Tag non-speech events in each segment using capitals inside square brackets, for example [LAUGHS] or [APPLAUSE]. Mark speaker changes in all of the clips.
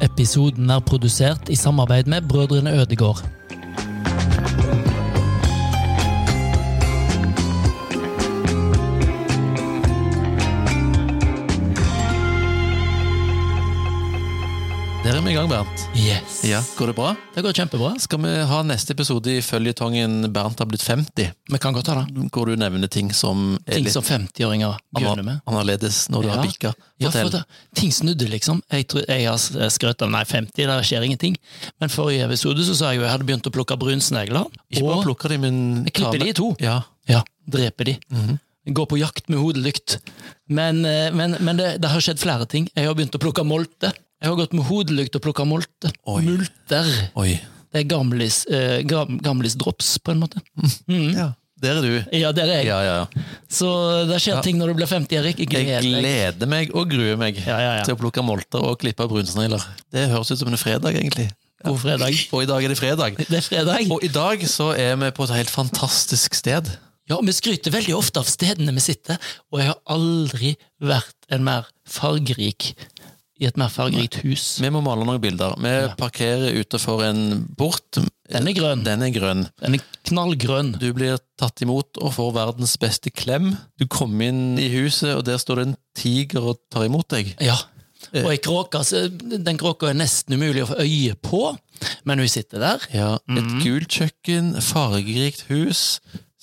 Speaker 1: Episoden er produsert i samarbeid med Brødrene Ødegård.
Speaker 2: Der er vi i gang, Bernt.
Speaker 1: Yes.
Speaker 2: Ja, Går det bra?
Speaker 1: Det går kjempebra.
Speaker 2: Skal vi ha neste episode i føljetongen 'Bernt har blitt 50'?
Speaker 1: Vi kan godt ta det.
Speaker 2: Hvor du nevner ting som er
Speaker 1: Ting
Speaker 2: litt
Speaker 1: som 50-åringer begynner med.
Speaker 2: anner- annerledes når du har
Speaker 1: Ja.
Speaker 2: bikka.
Speaker 1: Ja, for
Speaker 2: Fortell.
Speaker 1: det, ting snudde, liksom. Jeg, tror, jeg har s- skrøt av nei, 50, der skjer ingenting. Men forrige episode så sa jeg jo jeg hadde begynt å plukke brunsnegler.
Speaker 2: Ikke bare
Speaker 1: Og
Speaker 2: plukke de, men
Speaker 1: jeg klipper
Speaker 2: ta med-
Speaker 1: de i to.
Speaker 2: Ja. Mhm.
Speaker 1: ja, drepe de. Gå på jakt med hodelykt. Men, eh, men, men det, det har skjedd flere ting. Jeg har begynt å plukke molte. Jeg har gått med hodelykt og plukka molte.
Speaker 2: Oi.
Speaker 1: Multer.
Speaker 2: Oi.
Speaker 1: Det er gamlis, eh, gam, gamlis drops, på en måte.
Speaker 2: Ja. Der er du.
Speaker 1: Ja, der er jeg.
Speaker 2: Ja, ja, ja.
Speaker 1: Så det skjer ting når du blir 50, Erik. Jeg
Speaker 2: Jeg
Speaker 1: gleder meg.
Speaker 2: gleder meg og gruer meg
Speaker 1: Ja, ja, ja.
Speaker 2: til å plukke molter og klippe brunsnegler. Det høres ut som en fredag, egentlig.
Speaker 1: God fredag.
Speaker 2: Og i dag er det fredag.
Speaker 1: Det er fredag.
Speaker 2: Og i dag så er vi på et helt fantastisk sted.
Speaker 1: Ja, vi skryter veldig ofte av stedene vi sitter, og jeg har aldri vært en mer fargerik i et mer fargerikt hus.
Speaker 2: Vi må male noen bilder. Vi parkerer utenfor en port.
Speaker 1: Den er grønn.
Speaker 2: Den er grønn.
Speaker 1: Den er knallgrønn.
Speaker 2: Du blir tatt imot og får verdens beste klem. Du kommer inn i huset, og der står det en tiger og tar imot deg.
Speaker 1: Ja.
Speaker 2: Eh.
Speaker 1: Og ei kråke, så den kråka er nesten umulig å få øye på, men hun sitter der.
Speaker 2: Ja, Et
Speaker 1: Mhm.
Speaker 2: gult kjøkken, fargerikt hus.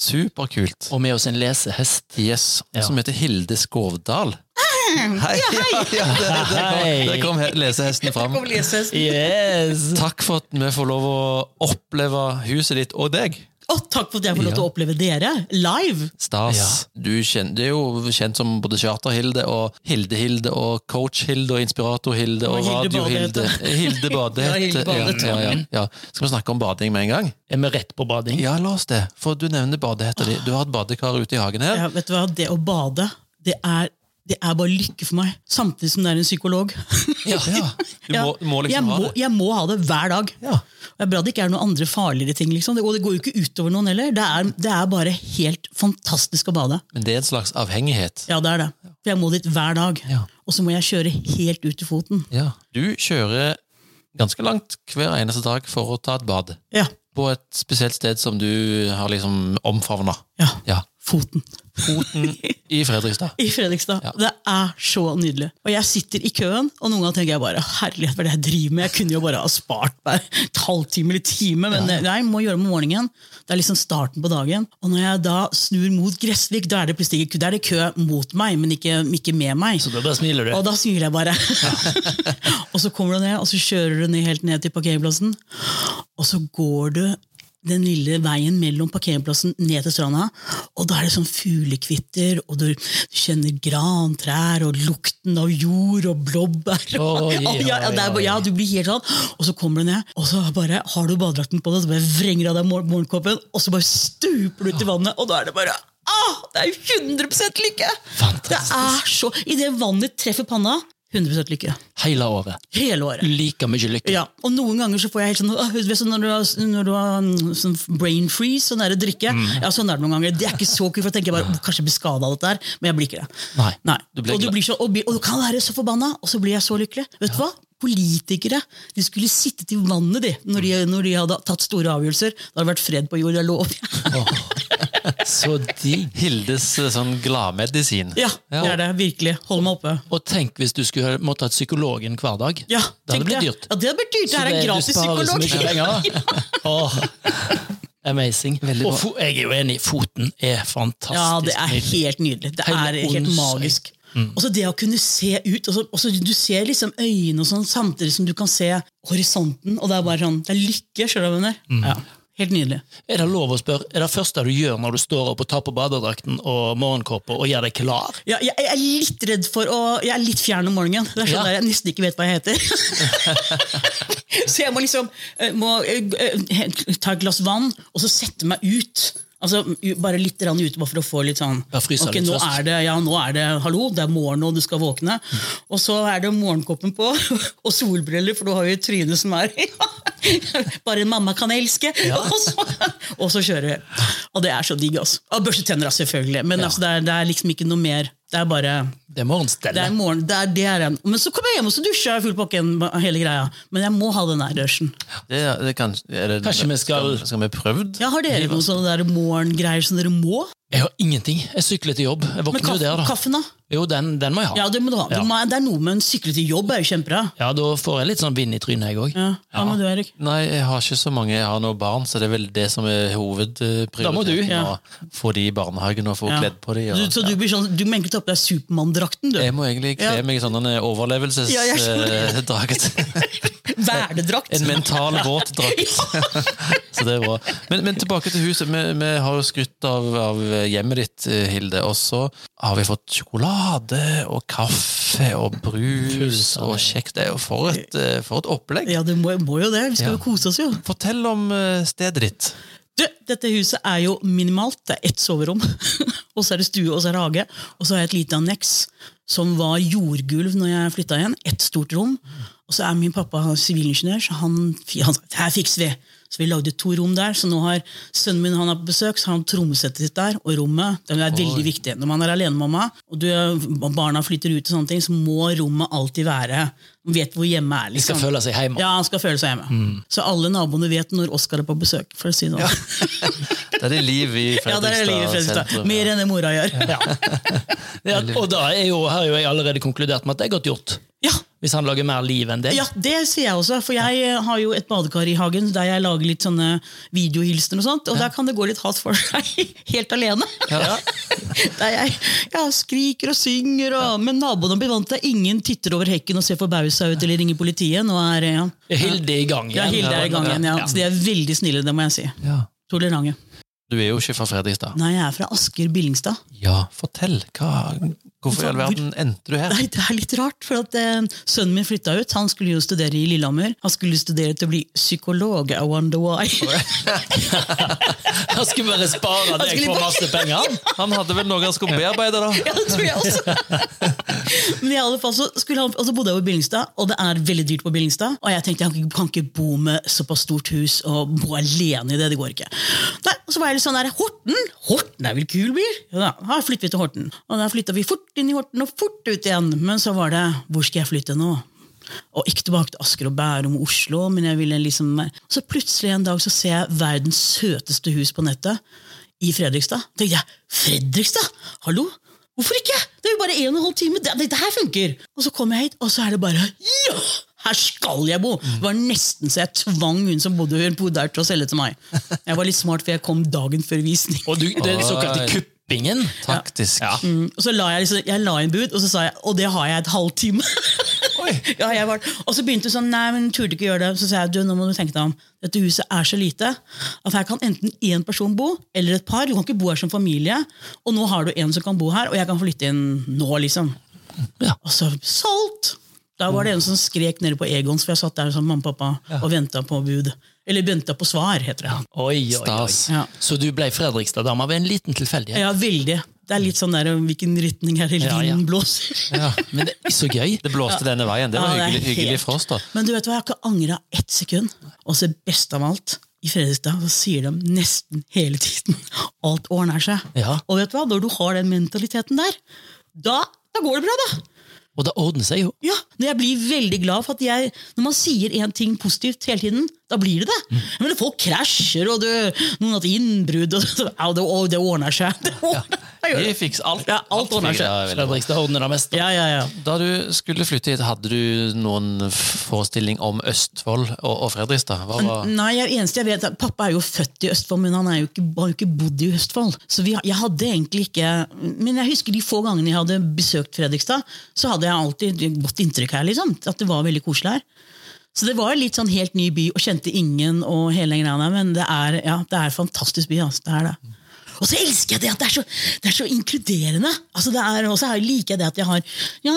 Speaker 2: Superkult.
Speaker 1: Og med oss en lesehest.
Speaker 2: Yes,
Speaker 1: Ja.
Speaker 2: Som heter Hilde Skovdal. Hei! Mm. Ja, [LAUGHS] ja, der, der kom, der kom he- lesehesten fram.
Speaker 3: Å,
Speaker 1: Yes!
Speaker 2: Takk for at vi får lov å oppleve huset ditt og deg.
Speaker 3: takk for at jeg får lov til å oppleve dere live!
Speaker 2: Stas. Du kjen- du er jo kjent som både Charter-Hilde og Hilde-Hilde og Coach-Hilde og Inspirator-Hilde og
Speaker 3: Og Hilde
Speaker 2: Radio-Hilde. Eh, Hilde
Speaker 3: [LAUGHS] Ja, Hilde
Speaker 2: Badehette. Ja,
Speaker 3: Badehette.
Speaker 2: ja, ja, ja. Skal vi snakke om bading med en gang?
Speaker 1: Er vi rett på bading?
Speaker 2: Ja, la oss det. For du nevner badehetta di. Du har et badekar ute i hagen her.
Speaker 3: Ja, vet du hva, Det å bade, det er, det er bare lykke for meg. Samtidig som det er en psykolog.
Speaker 2: Ja. Du må, du må
Speaker 3: jeg,
Speaker 2: liksom
Speaker 3: må,
Speaker 2: ha det.
Speaker 3: jeg må ha det hver dag.
Speaker 2: Ja.
Speaker 3: Og Det er bra det ikke er noen andre farligere ting. Liksom. Det- Og det går jo ikke utover noen heller. Det er, det er bare helt fantastisk å bade.
Speaker 2: Men det er en slags avhengighet.
Speaker 3: Ja, det er det. For jeg må dit hver dag.
Speaker 2: Ja.
Speaker 3: Og så må jeg kjøre helt ut til foten.
Speaker 2: Ja. Du kjører ganske langt hver eneste dag for å ta et bad.
Speaker 3: Ja,
Speaker 2: På et spesielt sted som du har liksom omfavna.
Speaker 3: ja.
Speaker 2: Ja.
Speaker 3: Foten.
Speaker 2: Foten i Fredrikstad.
Speaker 3: I Fredrikstad.
Speaker 2: Ja.
Speaker 3: Det er så nydelig. Og jeg sitter i køen, og noen ganger tenker jeg bare herlighet, hva er det jeg driver med? Jeg kunne jo bare ha spart meg et halvtime eller time, men nei, jeg må gjøre det om morgenen. Det er liksom starten på dagen. Og når jeg da snur mot Gressvik, da er det plutselig ikke- da er det kø mot meg, men ikke, ikke med meg.
Speaker 1: Så da bare smiler
Speaker 3: Og
Speaker 1: du.
Speaker 3: da smiler jeg bare. [LAUGHS] og så kommer du ned, og så kjører du ned helt ned til parkeringsplassen. Og så går du den lille veien mellom parkeringsplassen ned til stranda, og da er det sånn fuglekvitter, og du kjenner grantrær og lukten av jord og blåbær.
Speaker 1: Å, ja,
Speaker 3: Og [LAUGHS] ja, ja, det er bare- ja, du blir helt sånn, og så kommer du ned, og så bare har du badedrakten på deg, så bare vrenger du av deg mor- morgenkåpen, og så bare stuper du ut i vannet, og da er det bare Ah, det er jo 100 lykke! Det er så, I det vannet treffer panna, 100 lykke.
Speaker 1: Hele året.
Speaker 3: Hele året.
Speaker 1: Like mye lykke.
Speaker 3: Ja, og noen ganger så får jeg helt sånn, «Åh, vet du, sånn når du har, når du har mm, sånn brain freeze, sånn der drikke,
Speaker 1: Mm.
Speaker 3: ja, sånn er det noen ganger. Det er ikke så kult, for jeg tenker bare, «Åh, kanskje jeg blir skadet av dette her, men jeg blir ikke det.
Speaker 1: Nei.
Speaker 2: Du blir
Speaker 3: og, du
Speaker 2: glad.
Speaker 3: blir så, og, blir- og du kan være så forbanna, og så blir jeg så lykkelig. Vet du hva? Politikere, de skulle sittet i vannet de, når de,
Speaker 1: Mm.
Speaker 3: når de hadde tatt store avgjørelser. Da hadde det vært fred på jord, jeg lover. [LAUGHS]
Speaker 1: Så digg.
Speaker 2: Hildes eh, sånn gladmedisin.
Speaker 3: Ja, det er det, virkelig. Hold meg oppe.
Speaker 1: Og tenk hvis du skulle måttet ha psykologen hver dag. det
Speaker 3: Ja,
Speaker 1: hadde
Speaker 3: tenk
Speaker 1: blitt dyrt.
Speaker 3: Ja, det hadde blitt dyrt. Det
Speaker 1: Så
Speaker 3: her er
Speaker 1: det-
Speaker 3: en
Speaker 1: du
Speaker 3: gratis
Speaker 1: sparer så
Speaker 3: psykolog.
Speaker 1: mye
Speaker 3: [LAUGHS]
Speaker 1: Åh, amazing.
Speaker 2: Veldig
Speaker 1: Og
Speaker 2: bra.
Speaker 1: fo jeg er jo enig, foten er fantastisk.
Speaker 3: Ja, det er
Speaker 1: nydelig.
Speaker 3: helt nydelig. Det
Speaker 1: Hele
Speaker 3: er helt
Speaker 1: Onsøy.
Speaker 3: magisk.
Speaker 1: Mm.
Speaker 3: Og så det å kunne se ut, og så, og så Du ser liksom øynene og sånn, samtidig som du kan se horisonten. Og det er bare sånn, det er lykke. Skjønner du hva jeg
Speaker 1: Mm.
Speaker 3: mener? Ja, helt nydelig.
Speaker 1: Er det lov å spørre, er det første du gjør når du står opp og tar på badedrakten og morgenkåpa og gjør deg klar?
Speaker 3: Ja, jeg, jeg er litt redd for å Jeg er litt fjern om morgenen. Det er
Speaker 1: Ja.
Speaker 3: sånn der jeg nesten ikke vet hva jeg heter. så jeg må liksom eh, må, eh, eh, ta et glass vann, og så sette meg ut. Altså, u- Bare litt grann ute, bare for å få litt sånn
Speaker 1: Bare fryse
Speaker 3: Ok,
Speaker 1: litt
Speaker 3: nå
Speaker 1: først. Mm.
Speaker 3: er, det, ja, nå er det hallo, det er morgen, og du skal våkne. Og så er det morgenkoppen på, [LAUGHS] og solbriller, for du har jo et tryne som er [LAUGHS] Bare en mamma kan elske! [LAUGHS] Og, så, og så kjører vi. Og det er så digg. altså. Og børste tenner, selvfølgelig. Men altså, det, er, det er liksom ikke noe mer. Det er bare
Speaker 1: Det er
Speaker 3: Det er
Speaker 1: morgenstellet.
Speaker 3: morgen, det er, det er en. Men så kommer jeg hjem og så dusjer jeg full pakke igjen, hele greia. Men jeg må ha den der rushen.
Speaker 2: Det, er- det kan, er det,
Speaker 1: Kanskje vi skal-
Speaker 2: Skal vi prøvd?
Speaker 3: Ja, har dere noen sånne der morgengreier som dere må?
Speaker 1: Jeg har ingenting. Jeg sykler til jobb. Jeg
Speaker 3: Men
Speaker 1: våkner jo
Speaker 3: kaffe,
Speaker 1: der, da.
Speaker 3: kaffen, da?
Speaker 1: Jo, den, den må jeg ha.
Speaker 3: Ja, det må du ha. Du
Speaker 1: Ja.
Speaker 3: må, det er noe med en sykle til jobb er jo kjempebra.
Speaker 1: Ja, da får jeg litt sånn vind i trynet, jeg òg.
Speaker 3: Ja, hva med du, Erik?
Speaker 2: Nei, jeg har ikke så mange. Jeg har noen barn, så det er vel det som er hovedprioriteten.
Speaker 1: Da må du,
Speaker 3: ja.
Speaker 2: Å få de i barnehagen og få
Speaker 3: Ja.
Speaker 2: kledd på de.
Speaker 3: Du,
Speaker 2: Og,
Speaker 3: så du, blir sånn, du må egentlig ta på deg Supermann-drakten, du.
Speaker 2: Jeg må egentlig kle
Speaker 3: Ja.
Speaker 2: meg i sånn eh, sånne
Speaker 3: Ja, jeg
Speaker 2: eh,
Speaker 3: skjønner.
Speaker 2: overlevelsesdrakt.
Speaker 3: [LAUGHS] Vernedrakt.
Speaker 2: En mental
Speaker 3: [LAUGHS]
Speaker 2: våtdrakt. [LAUGHS] Så det er bra. Men, men tilbake til huset. Vi, vi har jo skrytt av, av hjemmet ditt, eh, Hilde. Og så har vi fått sjokolade og kaffe og brus
Speaker 1: Fullstendig.
Speaker 2: og kjeks. Det er jo for et, eh, for et opplegg.
Speaker 3: Ja, det må, må jo det. Vi skal
Speaker 2: Ja.
Speaker 3: jo kose oss, jo.
Speaker 2: Fortell om eh, stedet ditt.
Speaker 3: Du, dette huset er jo minimalt. Det er ett soverom, [LAUGHS] og så er det stue og så er det hage. Og så har jeg et lite anneks som var jordgulv når jeg flytta igjen. Ett stort rom. Og så er min pappa han er sivilingeniør, så han, han sa her fikser vi. Så vi lagde to rom der, så nå har sønnen min han er på besøk, så har han trommesettet sitt der. Og rommet det er veldig viktig. Når man er alenemamma, og du, barna flytter ut, og sånne ting, så må rommet alltid være Vet hvor hjemme er.
Speaker 1: De skal Mm.
Speaker 3: liksom.
Speaker 1: føle seg hjemme.
Speaker 3: Ja, han skal føle seg hjemme. Så alle naboene vet når Oskar er på besøk. for å si det sånn. [LAUGHS]
Speaker 2: Der er det liv i
Speaker 3: Ja, der er livet i
Speaker 2: Fredrikstad
Speaker 3: Fredrikstad.
Speaker 2: sentrum.
Speaker 3: Mer enn det mora gjør. Ja.
Speaker 1: [LAUGHS] Ja, og da er jo, har jo jeg allerede konkludert med at det er godt gjort.
Speaker 3: Ja, [LAUGHS]
Speaker 1: Hvis han lager mer liv enn deg.
Speaker 3: det sier jeg også. For jeg eh, har jo et badekar i hagen der jeg lager litt sånne videohilsener og sånt, og der kan det gå litt hat for seg. [LAUGHS] Helt alene.
Speaker 1: Ja.
Speaker 3: [LAUGHS] Der jeg ja, skriker og synger, og, men naboene blir vant til at ingen titter over hekken og ser forbausa ut eller ringer politiet. Nå er eh,
Speaker 1: Hilde er i gang
Speaker 3: ja,
Speaker 1: igjen.
Speaker 3: Hilde er i gang igjen, ja. Så de er veldig snille, det må jeg si.
Speaker 2: Ja.
Speaker 3: Tolerante.
Speaker 2: Du er jo ikke fra Fredrikstad.
Speaker 3: Nei, jeg er fra Asker Billingstad.
Speaker 2: Ja, fortell. Hva, hvorfor i all verden endte du
Speaker 3: [LAUGHS]
Speaker 2: her?
Speaker 3: Nei, det er litt rart, for at eh, sønnen min flytta ut. Han skulle jo studere i Lillehammer. Han skulle studere til å bli psykolog. I wonder why.
Speaker 1: Han skulle bare spare
Speaker 3: Han
Speaker 1: deg
Speaker 3: skulle
Speaker 1: for
Speaker 3: bare-
Speaker 1: masse penger.
Speaker 2: Han hadde vel noe han skulle bearbeide,
Speaker 3: [LAUGHS]
Speaker 2: da?
Speaker 3: ja, det tror jeg også. [LAUGHS] Men i alle fall så, skulle han, og så bodde jeg jo i Billingstad, og det er veldig dyrt på Billingstad. Og jeg tenkte jeg kan ikke- kan ikke bo med såpass stort hus og bo alene i det. Det går ikke. Nei, og så var jeg litt sånn der, Horten Horten er vel kul by? Ja, da da flytter vi til Horten. Og der flytta vi fort inn i Horten og fort ut igjen. Men så var det Hvor skal jeg flytte nå? Og ikke tilbake til Asker og Bærum og Oslo, men jeg ville liksom Så plutselig en dag så ser jeg verdens søteste hus på nettet i Fredrikstad. tenkte jeg, Fredrikstad? Hallo? Hvorfor ikke? Det er jo bare en og en halv time. Det- Dette her funker! Og så kom jeg hit, og så er det bare Ja! Her skal jeg bo! Det var nesten så jeg tvang hun som bodde hun bodde der, til å selge til meg. Jeg var litt smart, for jeg kom dagen før visning.
Speaker 1: Og du, den såkalte
Speaker 2: Oi.
Speaker 1: kuppingen.
Speaker 2: Taktisk.
Speaker 3: Mm, Og så la jeg, liksom, jeg la inn bud, og så sa jeg Og det har jeg et halvtime. [LAUGHS] ja, jeg var, og så begynte hun sånn, nei, men turde ikke gjøre det. Så sa jeg du, nå må du tenke deg om. Dette huset er så lite at her kan enten én person bo, eller et par. Du kan ikke bo her som familie. Og nå har du en som kan bo her, og jeg kan flytte inn nå, liksom.
Speaker 1: Ja.
Speaker 3: Og så solgt! Da var det en som skrek nede på Egons, for jeg satt der som mamma og pappa og venta på bud. Eller venta på svar, heter det.
Speaker 1: Oi, oi, oi.
Speaker 2: Stas.
Speaker 3: Ja.
Speaker 1: Så du ble Fredrikstad-dama ved en liten tilfeldighet.
Speaker 3: Ja, veldig. Det er litt sånn der hvilken retning er det
Speaker 1: Ja, ja.
Speaker 3: vinden blåser.
Speaker 2: Ja.
Speaker 1: Men det er så gøy.
Speaker 2: Det blåste denne veien. Det var
Speaker 3: Ja, det er
Speaker 2: hyggelig, hyggelig
Speaker 3: helt-
Speaker 2: for oss, da.
Speaker 3: Men du vet hva, jeg har ikke angra ett sekund. Og så best av alt, i Fredrikstad så sier de nesten hele tiden [LAUGHS] alt ordner seg.
Speaker 1: Ja.
Speaker 3: Og vet du hva, når du har den mentaliteten der, da, da går det bra, da.
Speaker 1: Og det ordner seg jo.
Speaker 3: Ja, når jeg blir veldig glad for at jeg, når man sier en ting positivt hele tiden, da blir det
Speaker 2: Mm.
Speaker 3: det. Men når folk krasjer, og du, noen har hatt innbrudd, og [LAUGHS] så, au, det, å, det ordner seg. [LAUGHS] Det ordner, jeg gjør
Speaker 2: Vi
Speaker 3: det.
Speaker 2: fikser alt.
Speaker 3: Ja, alt ordner seg.
Speaker 2: Ja, veldig bra.
Speaker 1: Fredrikstad ordner det meste.
Speaker 3: Ja, ja, ja.
Speaker 2: Da du skulle flytte hit, hadde du noen forestilling om Østfold og, og Fredrikstad? Hva var
Speaker 3: Nei, jeg, eneste jeg vet er, Pappa er jo født i Østfold, men han er jo ikke, har jo ikke bodd i Østfold. Så vi, har- jeg hadde egentlig ikke Men jeg husker de få gangene jeg hadde besøkt Fredrikstad, så hadde jeg alltid et godt inntrykk her. liksom At det var veldig koselig her. Så det var jo litt sånn helt ny by, og kjente ingen og hele den greia der, men det er, ja, det er en fantastisk by. Altså, det er det. Og så elsker jeg det at det er så, det er så inkluderende. Altså det er, og så er- liker jeg det at jeg har ja,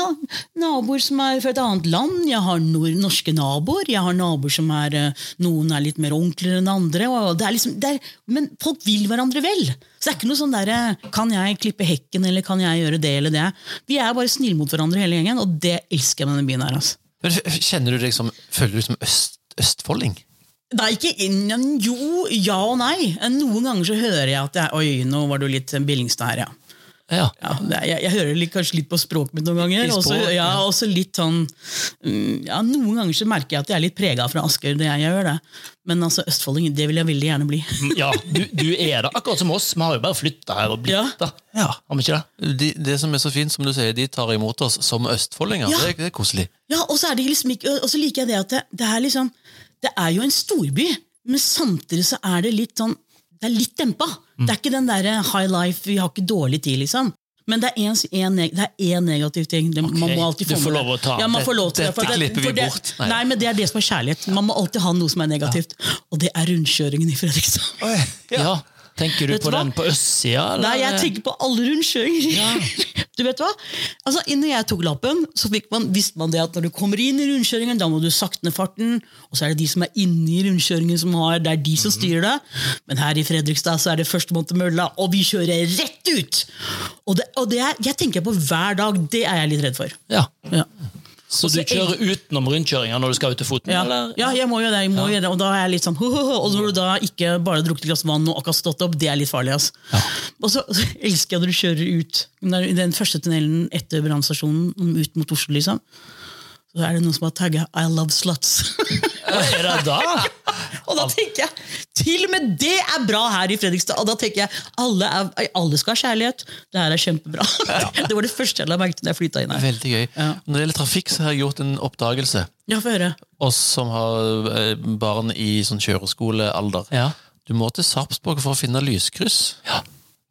Speaker 3: naboer som er fra et annet land, jeg har nor norske naboer, jeg har naboer som er eh, Noen er litt mer onkler enn andre. Og det er liksom, det er, men folk vil hverandre vel. Så det er ikke noe sånn derre Kan jeg klippe hekken, eller kan jeg gjøre det eller det? Vi er bare snille mot hverandre hele gjengen, og det elsker jeg med denne byen her. altså.
Speaker 2: Men f- Kjenner du deg som Føler du deg som øst, østfolding?
Speaker 3: Nei, ikke innen Jo, ja og nei. Noen ganger så hører jeg at jeg, Oi, nå var du litt Billingstad her, ja.
Speaker 1: Ja.
Speaker 3: Ja, det er- jeg, jeg hører litt, kanskje litt på språket mitt noen ganger.
Speaker 2: I
Speaker 3: Også,
Speaker 2: språk,
Speaker 3: ja, også litt sånn, mm, ja, noen ganger så merker jeg at jeg er litt prega fra Asker. det jeg, jeg gjør det. Men altså, østfolding det vil jeg veldig gjerne bli.
Speaker 1: ja du, du er det, akkurat som oss. Vi har jo bare flytta her og blitt
Speaker 3: Ja.
Speaker 1: det.
Speaker 2: Ja.
Speaker 1: Har vi ikke det?
Speaker 2: De, det som er så fint, som du sier, de tar imot oss som østfoldinger.
Speaker 3: Ja.
Speaker 2: Det, er- det er koselig.
Speaker 3: Ja, og så, er det liksom ikke, og så liker jeg det at det, det, er liksom, det er jo en storby, men samtidig så er det litt sånn Det er litt dempa.
Speaker 1: Mm.
Speaker 3: Det er ikke den derre high life, vi har ikke dårlig tid, liksom. Men det er en, en, neg- det er én negativ ting. Det, man må alltid
Speaker 1: du
Speaker 3: få
Speaker 1: får
Speaker 3: med det.
Speaker 1: lov å ta
Speaker 3: ja, man
Speaker 1: det-
Speaker 3: får lov til det, for
Speaker 2: dette
Speaker 3: det-
Speaker 2: klipper vi
Speaker 3: for det-
Speaker 2: bort. Nei.
Speaker 3: Nei, men det er det som er kjærlighet. Man må alltid ha noe som er negativt. Og det er rundkjøringen i Fredrikstad.
Speaker 1: Ja. Tenker du
Speaker 3: Vet du
Speaker 1: på
Speaker 3: hva?
Speaker 1: den på østsida? eller?
Speaker 3: Nei, jeg tenker på alle rundkjøringer. [LAUGHS] Du vet hva? Altså, Innen jeg tok lappen, så fikk man, visste man det at når du kommer inn i rundkjøringen, da må du sakte ned farten, og så er det de som er inne i rundkjøringen som har, det er de som styrer det. Men her i Fredrikstad så er det førstemann til mølla, og vi kjører rett ut! Og det, og det er, jeg tenker på hver dag, det er jeg litt redd for.
Speaker 1: Ja.
Speaker 3: Ja,
Speaker 1: Så du
Speaker 3: så-
Speaker 1: kjører utenom rundkjøringa når du skal ut til foten?
Speaker 3: ja.
Speaker 1: eller?
Speaker 3: ja jeg må jo det, jeg må gjøre det, og da er jeg litt sånn [LAUGHS] ho, ho, ho. Og når du da ikke bare har drukket et glass vann og akkurat stått opp, det er litt farlig. ass. Og så så elsker jeg når du kjører ut når- i den første tunnelen etter brannstasjonen ut mot Oslo, liksom. Så er det noen som har tagga 'I love sluts'. [LAUGHS]
Speaker 1: Hva er det da?
Speaker 3: og da tenker jeg til og med det er bra her i Fredrikstad! Og da tenker jeg alle, er, alle skal ha kjærlighet. Det her er kjempebra. [LAUGHS] det var det første jeg la merke til da jeg flytta inn her.
Speaker 2: Veldig gøy.
Speaker 3: Ja.
Speaker 2: Når det gjelder trafikk, så har jeg gjort en oppdagelse.
Speaker 3: Ja, få høre.
Speaker 2: Oss som har eh, barn i sånn kjøreskolealder.
Speaker 1: Ja.
Speaker 2: Du må til Sarpsborg for å finne lyskryss.
Speaker 1: ja.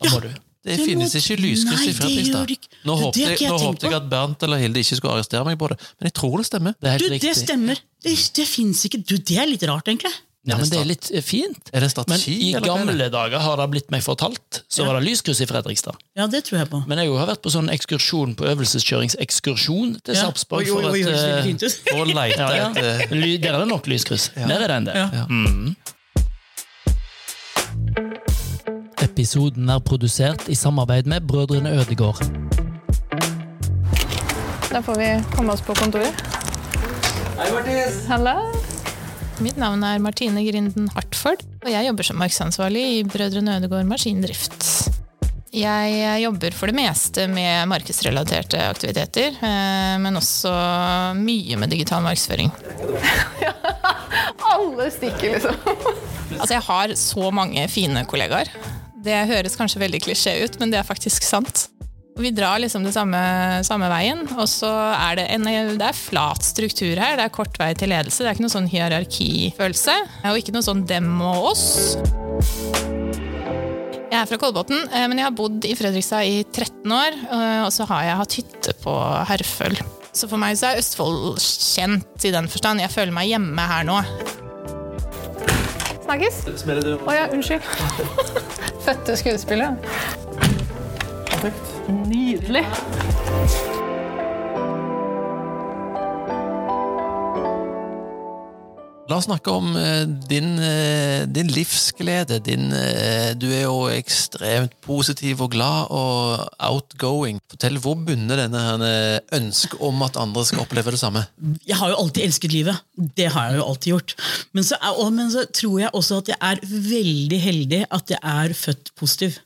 Speaker 1: Da må du.
Speaker 2: Det
Speaker 3: Det må-
Speaker 2: finnes ikke lyskryss
Speaker 3: Nei,
Speaker 2: i
Speaker 3: det gjør
Speaker 2: Fredrikstad.
Speaker 3: det ikke.
Speaker 2: Nå
Speaker 3: Det har
Speaker 2: håpte jeg,
Speaker 3: ikke jeg
Speaker 2: nå
Speaker 3: tenkt
Speaker 2: håpte jeg
Speaker 3: på.
Speaker 2: at Bernt eller Hilde ikke skulle arrestere meg på det, men jeg tror det
Speaker 1: Det
Speaker 2: stemmer.
Speaker 1: er
Speaker 3: Du,
Speaker 1: helt
Speaker 3: det
Speaker 1: riktig.
Speaker 3: stemmer. Det, det fins ikke. Du, det er litt rart, egentlig.
Speaker 1: Ja, men det er litt eh, fint.
Speaker 2: Er det en
Speaker 1: Men
Speaker 2: strategi?
Speaker 1: i
Speaker 2: eller hva er det?
Speaker 1: gamle dager har det blitt meg fortalt, så var det lyskryss i Fredrikstad.
Speaker 3: Ja, det tror jeg på.
Speaker 1: Men jeg har vært på sånn ekskursjon på øvelseskjøringsekskursjon til
Speaker 3: Ja.
Speaker 1: Sarpsborg.
Speaker 3: Oi, oi,
Speaker 1: for
Speaker 3: oi,
Speaker 1: at,
Speaker 3: høres
Speaker 1: eh,
Speaker 3: veldig fint ut.
Speaker 2: Og
Speaker 3: [LAUGHS]
Speaker 2: leite
Speaker 1: ja, ja.
Speaker 2: etter
Speaker 1: Ly- Der er det nok lyskryss. Der er den, der.
Speaker 3: Ja.
Speaker 1: Mm. Episoden er produsert i samarbeid med Brødrene Ødegård.
Speaker 4: Da får vi komme oss på kontoret. Hei, Martis! Hallo! Mitt navn er Martine Grinden Hartford, og jeg jobber som markedsansvarlig i Brødrene Ødegård Maskindrift. Jeg jobber for det meste med markedsrelaterte aktiviteter, eh, men også mye med digital
Speaker 5: [LAUGHS]
Speaker 4: markedsføring.
Speaker 5: Alle stikker, liksom.
Speaker 4: Altså, jeg har så mange fine kollegaer. Det høres kanskje veldig klisjé ut, men det er faktisk sant. Vi drar liksom det samme, samme veien, og så er det, en, det er flat struktur her. Det er kort vei til ledelse. Det er ikke noe sånn hierarkifølelse. Og ikke noe sånn dem og oss. Jeg er fra Kolbotn, eh, men jeg har bodd i Fredrikstad i 13 år. eh, Og så har jeg hatt hytte på Herføl. Så for meg så er Østfold kjent i den forstand. Jeg føler meg hjemme her nå.
Speaker 5: Snakkes? Å ja, unnskyld. [LAUGHS] Fødte skuespillere. Nydelig.
Speaker 2: La oss snakke om eh, din, eh, din livsglede. Din, eh, du er jo ekstremt positiv og glad og outgoing. Fortell, hvor bunner denne her, eh, ønsket om at andre skal oppleve det samme?
Speaker 3: Jeg har jo alltid elsket livet. Det har jeg jo alltid gjort. Men så, er, og, men så tror jeg også at jeg er veldig heldig at jeg er født positiv.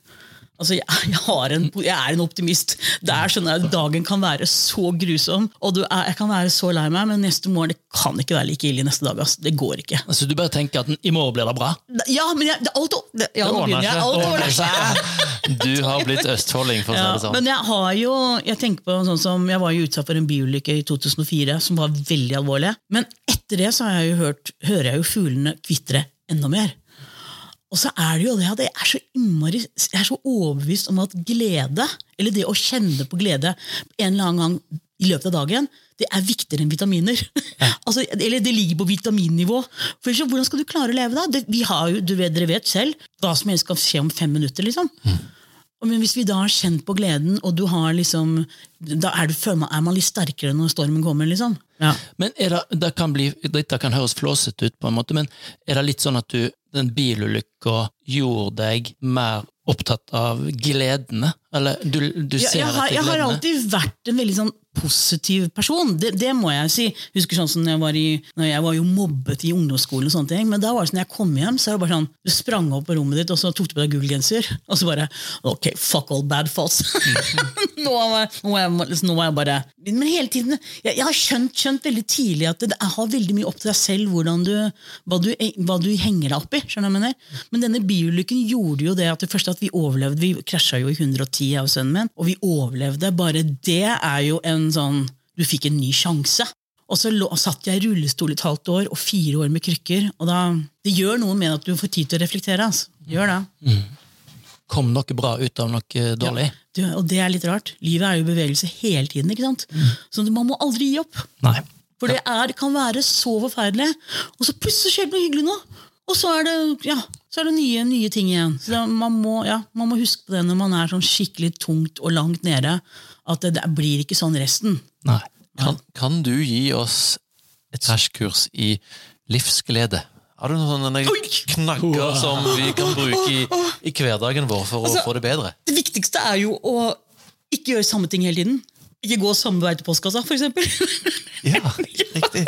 Speaker 3: Altså, jeg, [LAUGHS] jeg, har en, jeg er en optimist. Det er sånn at Dagen kan være så grusom, og du er, jeg kan være så lei meg, men neste morgen det kan ikke være like ille neste dag. ass. Det går ikke.
Speaker 1: Altså, du bare tenker at i morgen blir det bra.
Speaker 3: Ja, men jeg, det, alt, det, ja, nå
Speaker 1: ordner
Speaker 3: begynner jeg.
Speaker 1: seg.
Speaker 3: Alt
Speaker 1: Det ordner
Speaker 3: ordner seg.
Speaker 2: Du har blitt østfolding, for å si det
Speaker 3: Ja,
Speaker 2: sånn.
Speaker 3: men jeg har jo Jeg tenker på sånn som Jeg var jo utsatt for en biulykke i 2004 som var veldig alvorlig. Men etter det så har jeg jo hørt, hører jeg jo fuglene kvitre enda mer. Og så er det jo det at jeg er så innmari Jeg er så overbevist om at glede, eller det å kjenne på glede en eller annen gang i løpet av dagen, det er viktigere enn vitaminer. [LAUGHS] altså, eller det ligger på vitaminnivå. For ellers, så hvordan skal du klare å leve da? Det, vi har jo, du vet, dere vet selv, hva som helst kan skje om fem minutter, liksom. Og Men hvis vi da har kjent på gleden, og du har liksom Da er, du, føler man, er man litt sterkere når stormen kommer, liksom. Ja.
Speaker 1: Men er det, det kan bli, Dette kan høres flåsete ut, på en måte, men er det litt sånn at du, den bilulykka gjorde deg mer opptatt av gledene? Eller du, du
Speaker 3: Ja,
Speaker 1: ser
Speaker 3: jeg, har,
Speaker 1: etter
Speaker 3: jeg har
Speaker 1: gledene?
Speaker 3: alltid vært en veldig sånn positiv person, det, det må jeg si. Husker sånn som når jeg var, i, når jeg var jo mobbet i ungdomsskolen, og sånne ting, men da var det sånn, når jeg kom hjem, så var det bare sånn, du sprang opp på rommet ditt, og så tok du på deg gul genser, og så bare, ok, fuck all bad [LAUGHS] thoughts. nå, er- nå, er jeg, liksom, nå er jeg bare, men hele tiden, jeg, jeg har skjønt, skjønt veldig tidlig at det jeg har veldig mye opp til deg selv, hvordan du, hva du, eh, hva du henger deg opp i, skjønner du hva jeg mener? Men denne biulykken gjorde jo det at det første at vi overlevde, vi krasja jo i 110 jeg og sønnen min, og vi overlevde, bare det er jo en sånn, du fikk en ny sjanse. Og så lå, satt jeg i rullestol et halvt år, og fire år med krykker, og da, det gjør noe med at du får tid til å reflektere, altså. Gjør det.
Speaker 1: Kom noe bra ut av noe dårlig?
Speaker 3: Du, og det er litt rart. Livet er jo i bevegelse hele tiden, ikke sant? Så man må aldri gi opp.
Speaker 1: Nei.
Speaker 3: For det er, kan være så forferdelig. Og så plutselig skjer det noe hyggelig nå! Og så er det, ja, så er det nye, nye ting igjen. Så da, man, må, ja, man må huske på det når man er sånn skikkelig tungt og langt nede. At det, det blir ikke sånn resten.
Speaker 1: Nei.
Speaker 2: Kan, kan du gi oss et krasjkurs i livsglede? Har du noen sånne knagger som vi kan bruke i, i hverdagen vår for å
Speaker 3: Altså-
Speaker 2: få det bedre?
Speaker 3: Det viktigste er jo å ikke gjøre samme ting hele tiden. Ikke gå samme vei til postkassa, [LAUGHS] f.eks.
Speaker 2: Ja, riktig.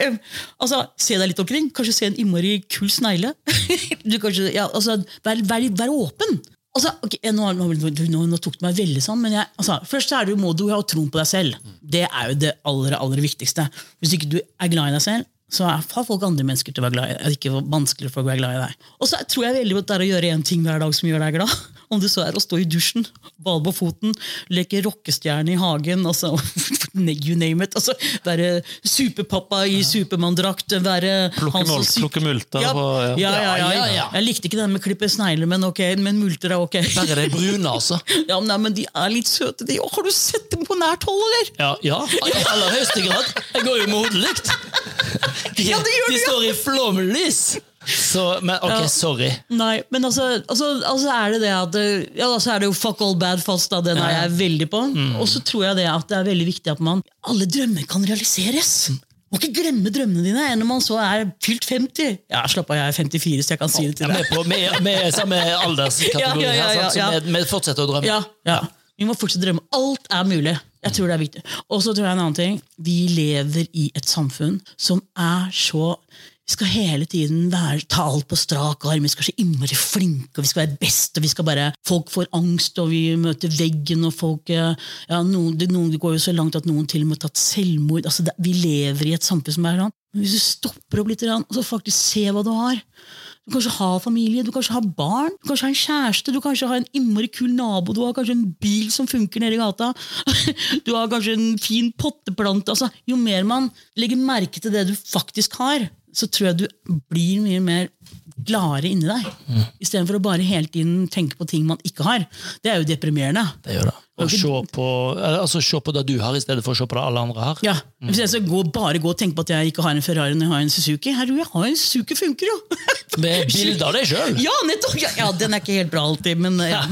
Speaker 3: Eh, altså, se deg litt omkring. Kanskje se en innmari kul snegle. [LAUGHS] du kanskje, ja, altså, vær, vær, vær åpen! Altså, ok, eh, nå, nå, nå, nå, nå tok du meg veldig sånn, men jeg, altså, først er det, jo- må du ha troen på deg selv. Det er jo det aller, aller viktigste. Hvis ikke du er glad i deg selv, så er, har folk andre mennesker til å være glad i deg. Det er ikke vanskelig for å være glad i deg. Og så tror jeg veldig godt det er å gjøre én ting hver dag som gjør deg glad. Om du så er å stå i dusjen, bade på foten, leke rockestjerne i hagen, altså, [LAUGHS] you name it. Altså, være superpappa i Supermann-drakt, være
Speaker 2: Plukke,
Speaker 3: han som
Speaker 2: mul
Speaker 3: syk-
Speaker 2: plukke multer
Speaker 3: ja,
Speaker 2: og
Speaker 3: ja,
Speaker 2: ja.
Speaker 3: ja, ja,
Speaker 1: altså, Ja, ja,
Speaker 3: ja.
Speaker 1: ja.
Speaker 3: Jeg likte ikke den med klippe snegler, men, ok, men multer er ok.
Speaker 1: Bare de brune, altså.
Speaker 3: [LAUGHS] Ja, men, nei, men de er litt søte, de. Har du sett dem på nært hold, eller?
Speaker 1: Ja, ja. I aller høyeste grad. Jeg går jo med hodelykt. De,
Speaker 3: Ja, det gjør
Speaker 1: de
Speaker 3: du, ja.
Speaker 1: står i flomlys! Så, men ok,
Speaker 3: Ja.
Speaker 1: sorry.
Speaker 3: Nei, men altså, altså, altså er det det at eh, Ja, altså er det jo fuck all bad fast, da. Den er jeg veldig på. Og så tror jeg det at det er veldig viktig at man Alle drømmer kan realiseres! Må ikke glemme drømmene dine enn når man så er fylt 50. Ja, slapp av, jeg er 54, så jeg kan si
Speaker 1: Ja,
Speaker 3: det til
Speaker 1: vi,
Speaker 3: deg.
Speaker 1: er på, vi, er, vi er samme alderskategori,
Speaker 3: Ja, ja, ja,
Speaker 1: her, sant?
Speaker 3: ja, ja.
Speaker 1: så vi, vi fortsetter å drømme.
Speaker 3: Ja, ja. Vi må fortsatt drømme. Alt er mulig. Jeg tror det er viktig. Og så tror jeg en annen ting. Vi lever i et samfunn som er så vi skal hele tiden være, ta alt på strak arm, vi skal være så innmari flinke, og vi skal være best, og vi skal bare, folk får angst, og vi møter veggen, og folk, eh, ja, noen, det, noen det går jo så langt at noen til og med har tatt selvmord. Altså, det, vi lever i et samfunn som er sånn. Men hvis du stopper opp litt, grann, og så faktisk se hva du har, du kanskje har familie, du kanskje har barn, du kanskje har en kjæreste, du kanskje har en innmari kul nabo, du har kanskje en bil som funker nede i gata, [LAUGHS] du har kanskje en fin potteplante. Altså, jo mer man legger merke til det du faktisk har, så tror jeg du blir mye mer gladere inni deg. Istedenfor å bare hele tiden tenke på ting man ikke har. Det er jo deprimerende.
Speaker 1: Det gjør det. Og se på, altså, se på det du har, i stedet for å se på det alle andre har.
Speaker 3: Ja, Hvis jeg skal gå, bare gå og tenke på at jeg ikke har en Ferrari når jeg har en Suzuki Herregud, jeg har en Suzuki, funker jo! [LAUGHS]
Speaker 1: Med bilder av deg sjøl!
Speaker 3: Ja, nettopp! Ja, ja, den er ikke helt bra alltid, men eh, ja.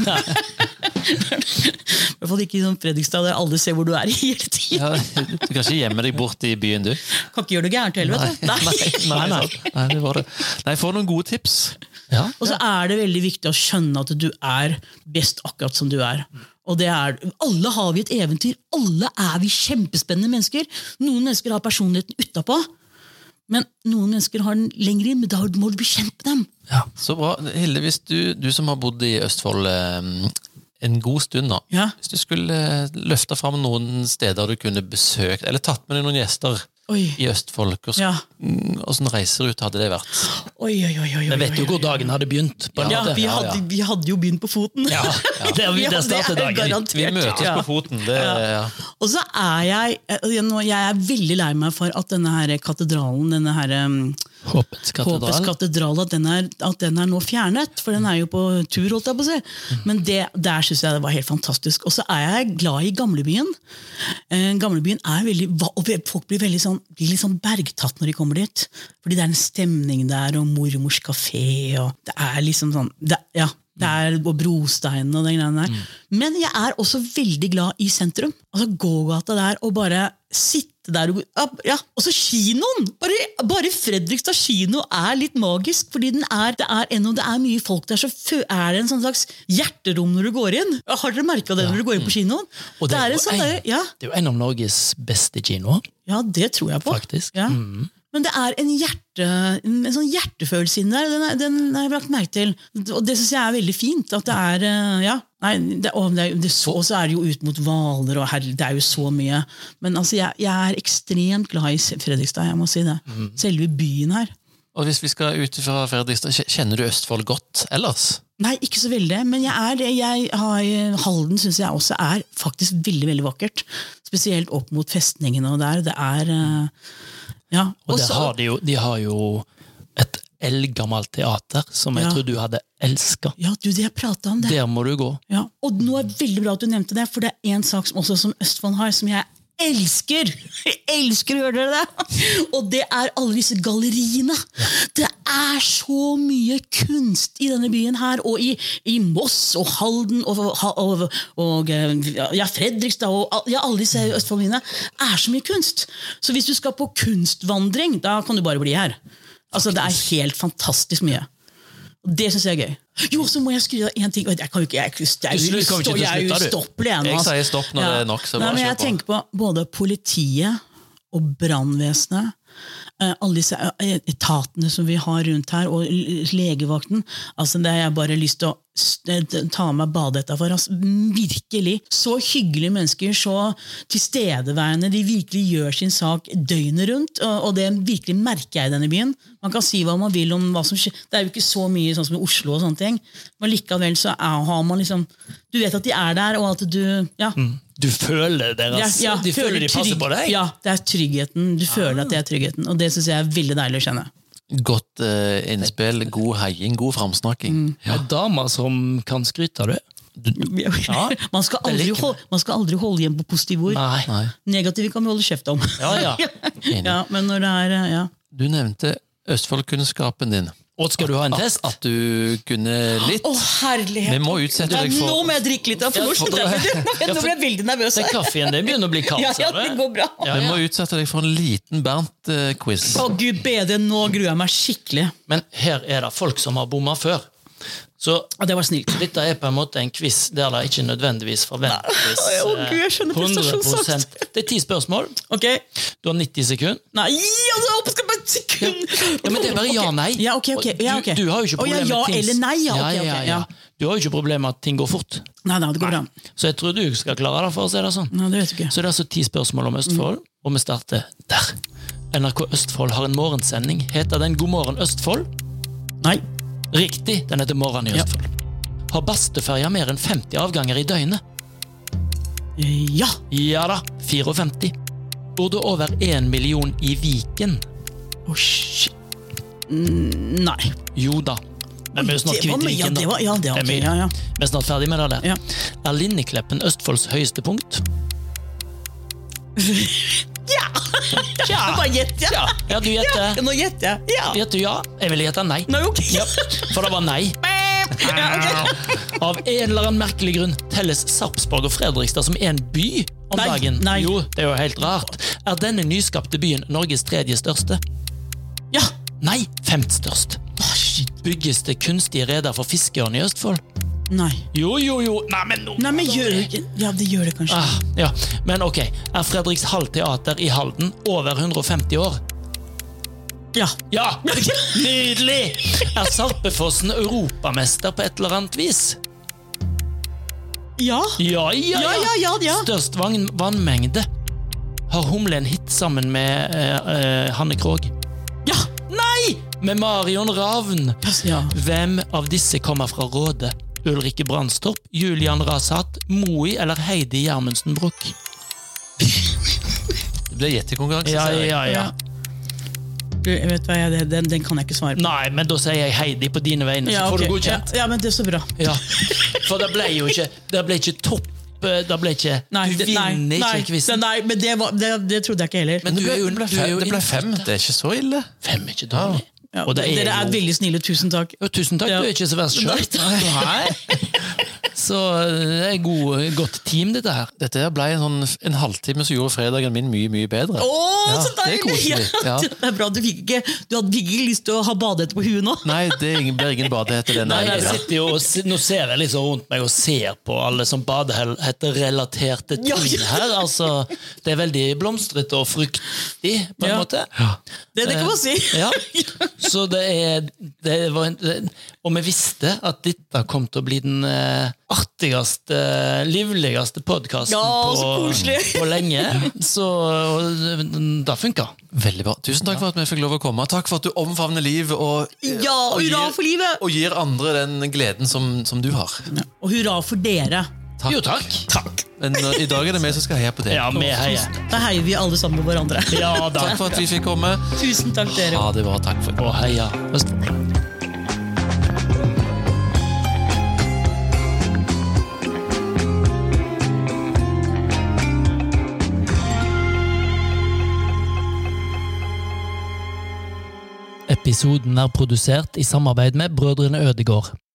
Speaker 3: [LAUGHS] I hvert fall ikke i sånn Fredrikstad, der alle ser hvor du er [LAUGHS] hele tiden.
Speaker 2: Ja, du kan ikke gjemme deg bort i byen, du.
Speaker 3: Kan ikke gjøre det gærent heller, vet du. Nei.
Speaker 2: Nei, nei. nei, det var det. Nei, få noen gode tips.
Speaker 3: [LAUGHS] Og så er det veldig viktig å skjønne at du er best akkurat som du er. Og det er, Alle har vi et eventyr. Alle er vi kjempespennende mennesker. Noen mennesker har personligheten utapå, men noen mennesker har den lenger inn. Men da må du bli kjent med dem.
Speaker 2: Så bra. Hilde, hvis du, du som har bodd i Østfold eh, en god stund nå,
Speaker 3: Ja.
Speaker 2: hvis du skulle eh, løfte fram noen steder du kunne besøkt, eller tatt med deg noen gjester
Speaker 3: Oi,
Speaker 2: i Østfold, hvordan,
Speaker 3: ja.
Speaker 2: hvordan reiserute hadde det vært?
Speaker 3: oi, oi, oi, oi,
Speaker 1: Jeg
Speaker 3: oi,
Speaker 1: vet jo
Speaker 3: oi.
Speaker 1: hvor dagen hadde begynt. På en
Speaker 3: Ja,
Speaker 1: måte.
Speaker 2: Ja,
Speaker 3: vi
Speaker 2: ja.
Speaker 3: hadde, vi hadde jo begynt på foten.
Speaker 1: Ja, der, vi-
Speaker 3: Ja,
Speaker 1: der starter
Speaker 3: [LAUGHS] det er
Speaker 1: dagen.
Speaker 3: garantert.
Speaker 2: Vi møtes
Speaker 3: Ja.
Speaker 2: på foten. Det, ja.
Speaker 3: Og så er jeg eh, nå- Jeg er veldig lei meg for at denne her katedralen, denne her um,
Speaker 1: Håpets
Speaker 3: Håpets
Speaker 1: katedral.
Speaker 3: katedral, at den, er, at den er nå fjernet. For den er jo på tur, holdt jeg på å si. Men det, der syns jeg det var helt fantastisk. Og så er jeg glad i gamlebyen. Eh, gamlebyen er veldig hva- Og folk blir veldig sånn, blir litt sånn bergtatt når de kommer dit. Fordi det er en stemning der, og mormors kafé, og det er liksom sånn det, Ja. Det
Speaker 1: Mm.
Speaker 3: er og brosteinen og den greiene der. Men jeg er også veldig glad i sentrum. Altså gågata der, og bare sitte der og ja, ja, også kinoen! Bare, bare Fredrikstad kino er litt magisk, fordi den er, det er ennå det er mye folk der, så fø- er det en sånn slags hjerterom når du går inn. Har dere merka det når du går inn på kinoen?
Speaker 1: Mm. Og det
Speaker 3: det
Speaker 1: er
Speaker 3: er en
Speaker 1: jo
Speaker 3: sånn der,
Speaker 1: ei-
Speaker 3: ja,
Speaker 1: Det er jo en av Norges beste kinoer,
Speaker 3: ja, det tror jeg på.
Speaker 1: faktisk. Mm.
Speaker 3: Ja. Men det er en, hjerte, en sånn hjertefølelse inni der. Den, er, den har jeg lagt merke til. Og det syns jeg er veldig fint. At det er eh, Ja. Nei, det, og det, er- det, så, og så er det jo ut mot Hvaler, og her, det er jo så mye. Men altså, jeg, jeg er ekstremt glad i Fredrikstad, jeg må si det.
Speaker 1: Mm.
Speaker 3: Selve byen her.
Speaker 2: Og hvis vi skal ut fra Fredrikstad, kje- kjenner du Østfold godt ellers?
Speaker 3: Nei, ikke så veldig, men jeg er det. Jeg har, eh, Halden syns jeg også er faktisk veldig veldig vakkert. Spesielt opp mot festningene og der. Det er eh, Ja.
Speaker 1: Og der
Speaker 3: så-
Speaker 1: har de, jo, de har jo et eldgammelt teater som jeg
Speaker 3: Ja.
Speaker 1: tror du hadde elska.
Speaker 3: ja, du, det jeg prata om, det
Speaker 1: Der må du gå.
Speaker 3: Ja, og nå er det veldig bra at du nevnte det, for det er en sak som, også, som Østfold har, som jeg elsker! [LAUGHS] Jeg elsker, hører dere det? [LAUGHS] Og det er alle disse galleriene. Det er så mye kunst i denne byen her, og i, i Moss og Halden og, og, og, og eh, ja, Fredrikstad og al- ja, alle disse Østfoldbyene er så mye kunst. Så hvis du skal på kunstvandring, da kan du bare bli her. Altså, det er helt fantastisk mye. Det syns jeg er gøy. Jo, så må jeg skru av én ting. Oi, Jeg kan jo ikke, jeg, jeg,
Speaker 1: Du slutt- kommer ikke til å
Speaker 3: jeg er
Speaker 1: slutte, du.
Speaker 3: ustoppelig ennå.
Speaker 2: Jeg
Speaker 3: altså.
Speaker 2: sier stopp når det er nok, så
Speaker 3: Nei,
Speaker 2: bare
Speaker 3: men
Speaker 2: kjør
Speaker 3: Jeg
Speaker 2: på.
Speaker 3: tenker på både politiet og brannvesenet. eh, Alle disse eh, etatene som vi har rundt her, og l- legevakten. Altså, det har jeg bare lyst til å s- eh, ta av meg badehetta for. Altså, virkelig. Så hyggelige mennesker, så tilstedeværende. De virkelig gjør sin sak døgnet rundt, og og det virkelig merker jeg i denne byen. Man kan si hva man vil om hva som skjer. Det er jo ikke så mye sånn som i Oslo, og sånne ting. men likevel så er, har man liksom Du vet at de er der, og at du ja,
Speaker 1: Du føler deres
Speaker 3: ja, ja,
Speaker 1: De føler de passer
Speaker 3: trygg-
Speaker 1: på deg.
Speaker 3: Ja, det er tryggheten. Du føler at det er tryggheten, og det syns jeg er veldig deilig å kjenne.
Speaker 2: Godt eh, innspill, god heiing, god framsnakking.
Speaker 3: Mm.
Speaker 1: Det er damer som kan skryte av det.
Speaker 3: [LAUGHS] man, skal aldri
Speaker 1: liker jeg.
Speaker 3: holde, man skal aldri holde igjen på positive ord.
Speaker 1: Nei.
Speaker 2: Nei.
Speaker 3: Negative kan vi holde kjeft om.
Speaker 1: Ja, ja.
Speaker 2: Enig.
Speaker 3: [LAUGHS] ja, men når det er eh, ja.
Speaker 2: Du nevnte Østfoldkunnskapen din.
Speaker 1: [LAUGHS] Og skal du ha en test?
Speaker 3: Ah,
Speaker 2: At du kunne litt.
Speaker 3: Å,
Speaker 2: Vi
Speaker 3: herlighet!
Speaker 2: må utsette
Speaker 3: Ja,
Speaker 2: deg
Speaker 3: nå
Speaker 2: for
Speaker 3: må jeg drikke litt av
Speaker 1: for-
Speaker 3: frokost! Nå ble jeg [LAUGHS] veldig nervøs.
Speaker 1: Den kaffen din begynner å bli kald.
Speaker 3: Ja, ja,
Speaker 1: ser
Speaker 3: det
Speaker 1: du.
Speaker 3: går bra.
Speaker 1: altså Ja,
Speaker 2: vi
Speaker 1: ja.
Speaker 2: må utsette deg for en liten eh, Bernt-quiz.
Speaker 3: Å gud bedre, nå gruer jeg meg skikkelig.
Speaker 1: Men her er det folk som har bomma før. Så
Speaker 3: Og det var snilt.
Speaker 1: dette er på en måte en quiz der det ikke nødvendigvis forventes
Speaker 3: Nei. Å, Gud, jeg skjønner
Speaker 1: eh, 100
Speaker 3: prestasjonsangst.
Speaker 1: Det er ti spørsmål.
Speaker 3: Ok?
Speaker 1: Du har 90 sekunder.
Speaker 3: Nei, altså, jeg skal bare et sekund!
Speaker 1: Ja, men det er bare ja,
Speaker 3: Ok.
Speaker 1: nei.
Speaker 3: Ja, ok, ok. Ja, ok.
Speaker 1: Du, du har jo ikke
Speaker 3: Å, ja,
Speaker 1: problemer
Speaker 3: ja
Speaker 1: med ting.
Speaker 3: eller nei, ja, ok, ok, ja.
Speaker 1: Du har jo ikke problemer med at ting går fort.
Speaker 3: Nei, nei, det går bra.
Speaker 1: Så jeg tror du skal klare det, for å si det sånn.
Speaker 3: Nei, det vet du ikke.
Speaker 1: Så det er altså ti spørsmål om Østfold, og vi starter der. NRK Østfold har en morgensending. Heter den God morgen Østfold?
Speaker 3: Nei.
Speaker 1: Riktig, den heter Morgen i
Speaker 3: Ja.
Speaker 1: Østfold. Har Bastøferja mer enn 50 avganger i døgnet?
Speaker 3: Eh, Ja!
Speaker 1: Ja da, 54. Bor det over én million i Viken?
Speaker 3: Å, shit. Mm, Nei.
Speaker 1: Jo da. Men vi er jo snart
Speaker 3: Det var
Speaker 1: kvitt
Speaker 3: mye- ja,
Speaker 1: Viken,
Speaker 3: det
Speaker 1: da.
Speaker 3: var, ja, det
Speaker 1: Det
Speaker 3: var,
Speaker 1: er
Speaker 3: ok,
Speaker 1: mye.
Speaker 3: ja, ja.
Speaker 1: Vi er snart ferdig med det der.
Speaker 3: Ja.
Speaker 1: Er Lindekleppen Østfolds høyeste punkt?
Speaker 3: [LAUGHS] Ja, Bare gjett, ja.
Speaker 1: Ja, du
Speaker 3: ja.
Speaker 1: gjetter.
Speaker 3: [LAUGHS] Nå gjetter jeg. Ja.
Speaker 1: Gjetter du ja? Jeg ville gjette nei.
Speaker 3: Nei, ok.
Speaker 1: Ja, for det var nei.
Speaker 3: Ja, ok.
Speaker 1: [LAUGHS] Av en eller annen merkelig grunn telles Sarpsborg og Fredrikstad som én by om
Speaker 3: Nei,
Speaker 1: dagen.
Speaker 3: nei.
Speaker 1: Jo, det er jo helt rart. Er denne nyskapte byen Norges tredje største?
Speaker 3: Ja.
Speaker 1: Nei, femt størst.
Speaker 3: Å, shit.
Speaker 1: Bygges det kunstige reder for fiskeørn i Østfold?
Speaker 3: Nei.
Speaker 1: Jo, jo, jo. Nei, men nå
Speaker 3: Nei, men gjør det ikke Ja, det gjør det kanskje.
Speaker 1: ah, Ja, Men ok, er Fredrikshall Teater i Halden over 150 år?
Speaker 3: Ja.
Speaker 1: Ja!
Speaker 3: [LAUGHS]
Speaker 1: Nydelig! Er Sarpefossen europamester på et eller annet vis?
Speaker 3: Ja.
Speaker 1: Ja, ja,
Speaker 3: Ja, ja, ja, ja.
Speaker 1: Størst vagn- vannmengde. Har Humle en hit sammen med eh, eh, Hanne Krogh?
Speaker 3: Ja.
Speaker 1: Nei! Med Marion Ravn.
Speaker 3: Ja.
Speaker 1: Hvem av disse kommer fra Råde? Ulrikke Brandstorp, Julian Rasat, Moi eller Heidi Gjermundsen Bruch?
Speaker 2: Det ble gjettekonkurranse.
Speaker 1: Ja,
Speaker 2: ser jeg.
Speaker 1: ja, ja.
Speaker 3: Du, jeg vet hva, jeg, det- den, den kan jeg ikke svare på.
Speaker 1: Nei, men da sier jeg Heidi på dine vegne, så
Speaker 3: Ja,
Speaker 1: får
Speaker 3: ok.
Speaker 1: du godkjent.
Speaker 3: Ja, ja, men det er så bra.
Speaker 1: Ja. For det ble jo ikke Det ble ikke topp eh, Det ble ikke
Speaker 3: Nei,
Speaker 1: Du
Speaker 3: det- nei,
Speaker 1: vinner
Speaker 3: nei,
Speaker 1: ikke quizen.
Speaker 3: Nei, men det, var, det, det trodde jeg ikke heller.
Speaker 1: Men du
Speaker 2: Det
Speaker 1: er jo
Speaker 2: ble
Speaker 1: du er
Speaker 2: fem-
Speaker 1: jo
Speaker 2: det ble fem. Det er ikke så ille.
Speaker 1: Fem er ikke dårlig.
Speaker 3: Ja,
Speaker 1: Og det er
Speaker 3: Dere er
Speaker 1: jo-
Speaker 3: veldig snille, tusen takk.
Speaker 1: Jo, tusen takk,
Speaker 3: Ja.
Speaker 1: du er ikke så verst
Speaker 3: Nei.
Speaker 1: sjøl. Så eh, det er god, godt team, dette her.
Speaker 2: Dette her ble en, sånn, en halvtime som gjorde fredagen min mye, mye bedre.
Speaker 3: Å,
Speaker 2: Ja,
Speaker 3: så
Speaker 2: det er
Speaker 3: deilig! Ja,
Speaker 2: koselig, ja.
Speaker 3: Det er bra, Du fikk ikke, du hadde ikke lyst til å ha badehette på huet nå?
Speaker 2: Nei, det er ingen- blir ingen badehette den
Speaker 1: Nei, jeg
Speaker 2: dagen.
Speaker 1: sitter jo og, se- nå ser jeg liksom rundt meg og ser på alle som badehetter-relaterte ting
Speaker 3: Ja, ja.
Speaker 1: her. Altså, det er veldig blomstrete og fruktig, på en
Speaker 3: Ja.
Speaker 1: måte.
Speaker 3: Det, det kan man si.
Speaker 1: Eh,
Speaker 2: Eh,
Speaker 1: Ja. Så det er det var en, det, Og vi visste at dette kom til å bli den eh, artigste, eh, livligste podkasten
Speaker 3: Ja, så
Speaker 1: på,
Speaker 3: koselig.
Speaker 1: på lenge. Så og, eh, det funka.
Speaker 2: Veldig bra. Tusen takk for at vi fikk lov å komme. Takk for at du omfavner livet og,
Speaker 3: Ja, og hurra
Speaker 2: gir-
Speaker 3: for livet!
Speaker 2: og gir andre den gleden som, som du har.
Speaker 3: Og hurra for dere.
Speaker 2: Takk.
Speaker 1: Jo, takk.
Speaker 2: Men eh, i dag er det vi som skal heie på det.
Speaker 1: Ja, vi heier.
Speaker 3: Da heier vi alle sammen på hverandre.
Speaker 1: Ja da.
Speaker 2: Takk for at vi fikk komme.
Speaker 3: Tusen takk, dere.
Speaker 2: Ha det bra. Takk for
Speaker 1: Og heia Østfold. Episoden er produsert i samarbeid med Brødrene Ødegård.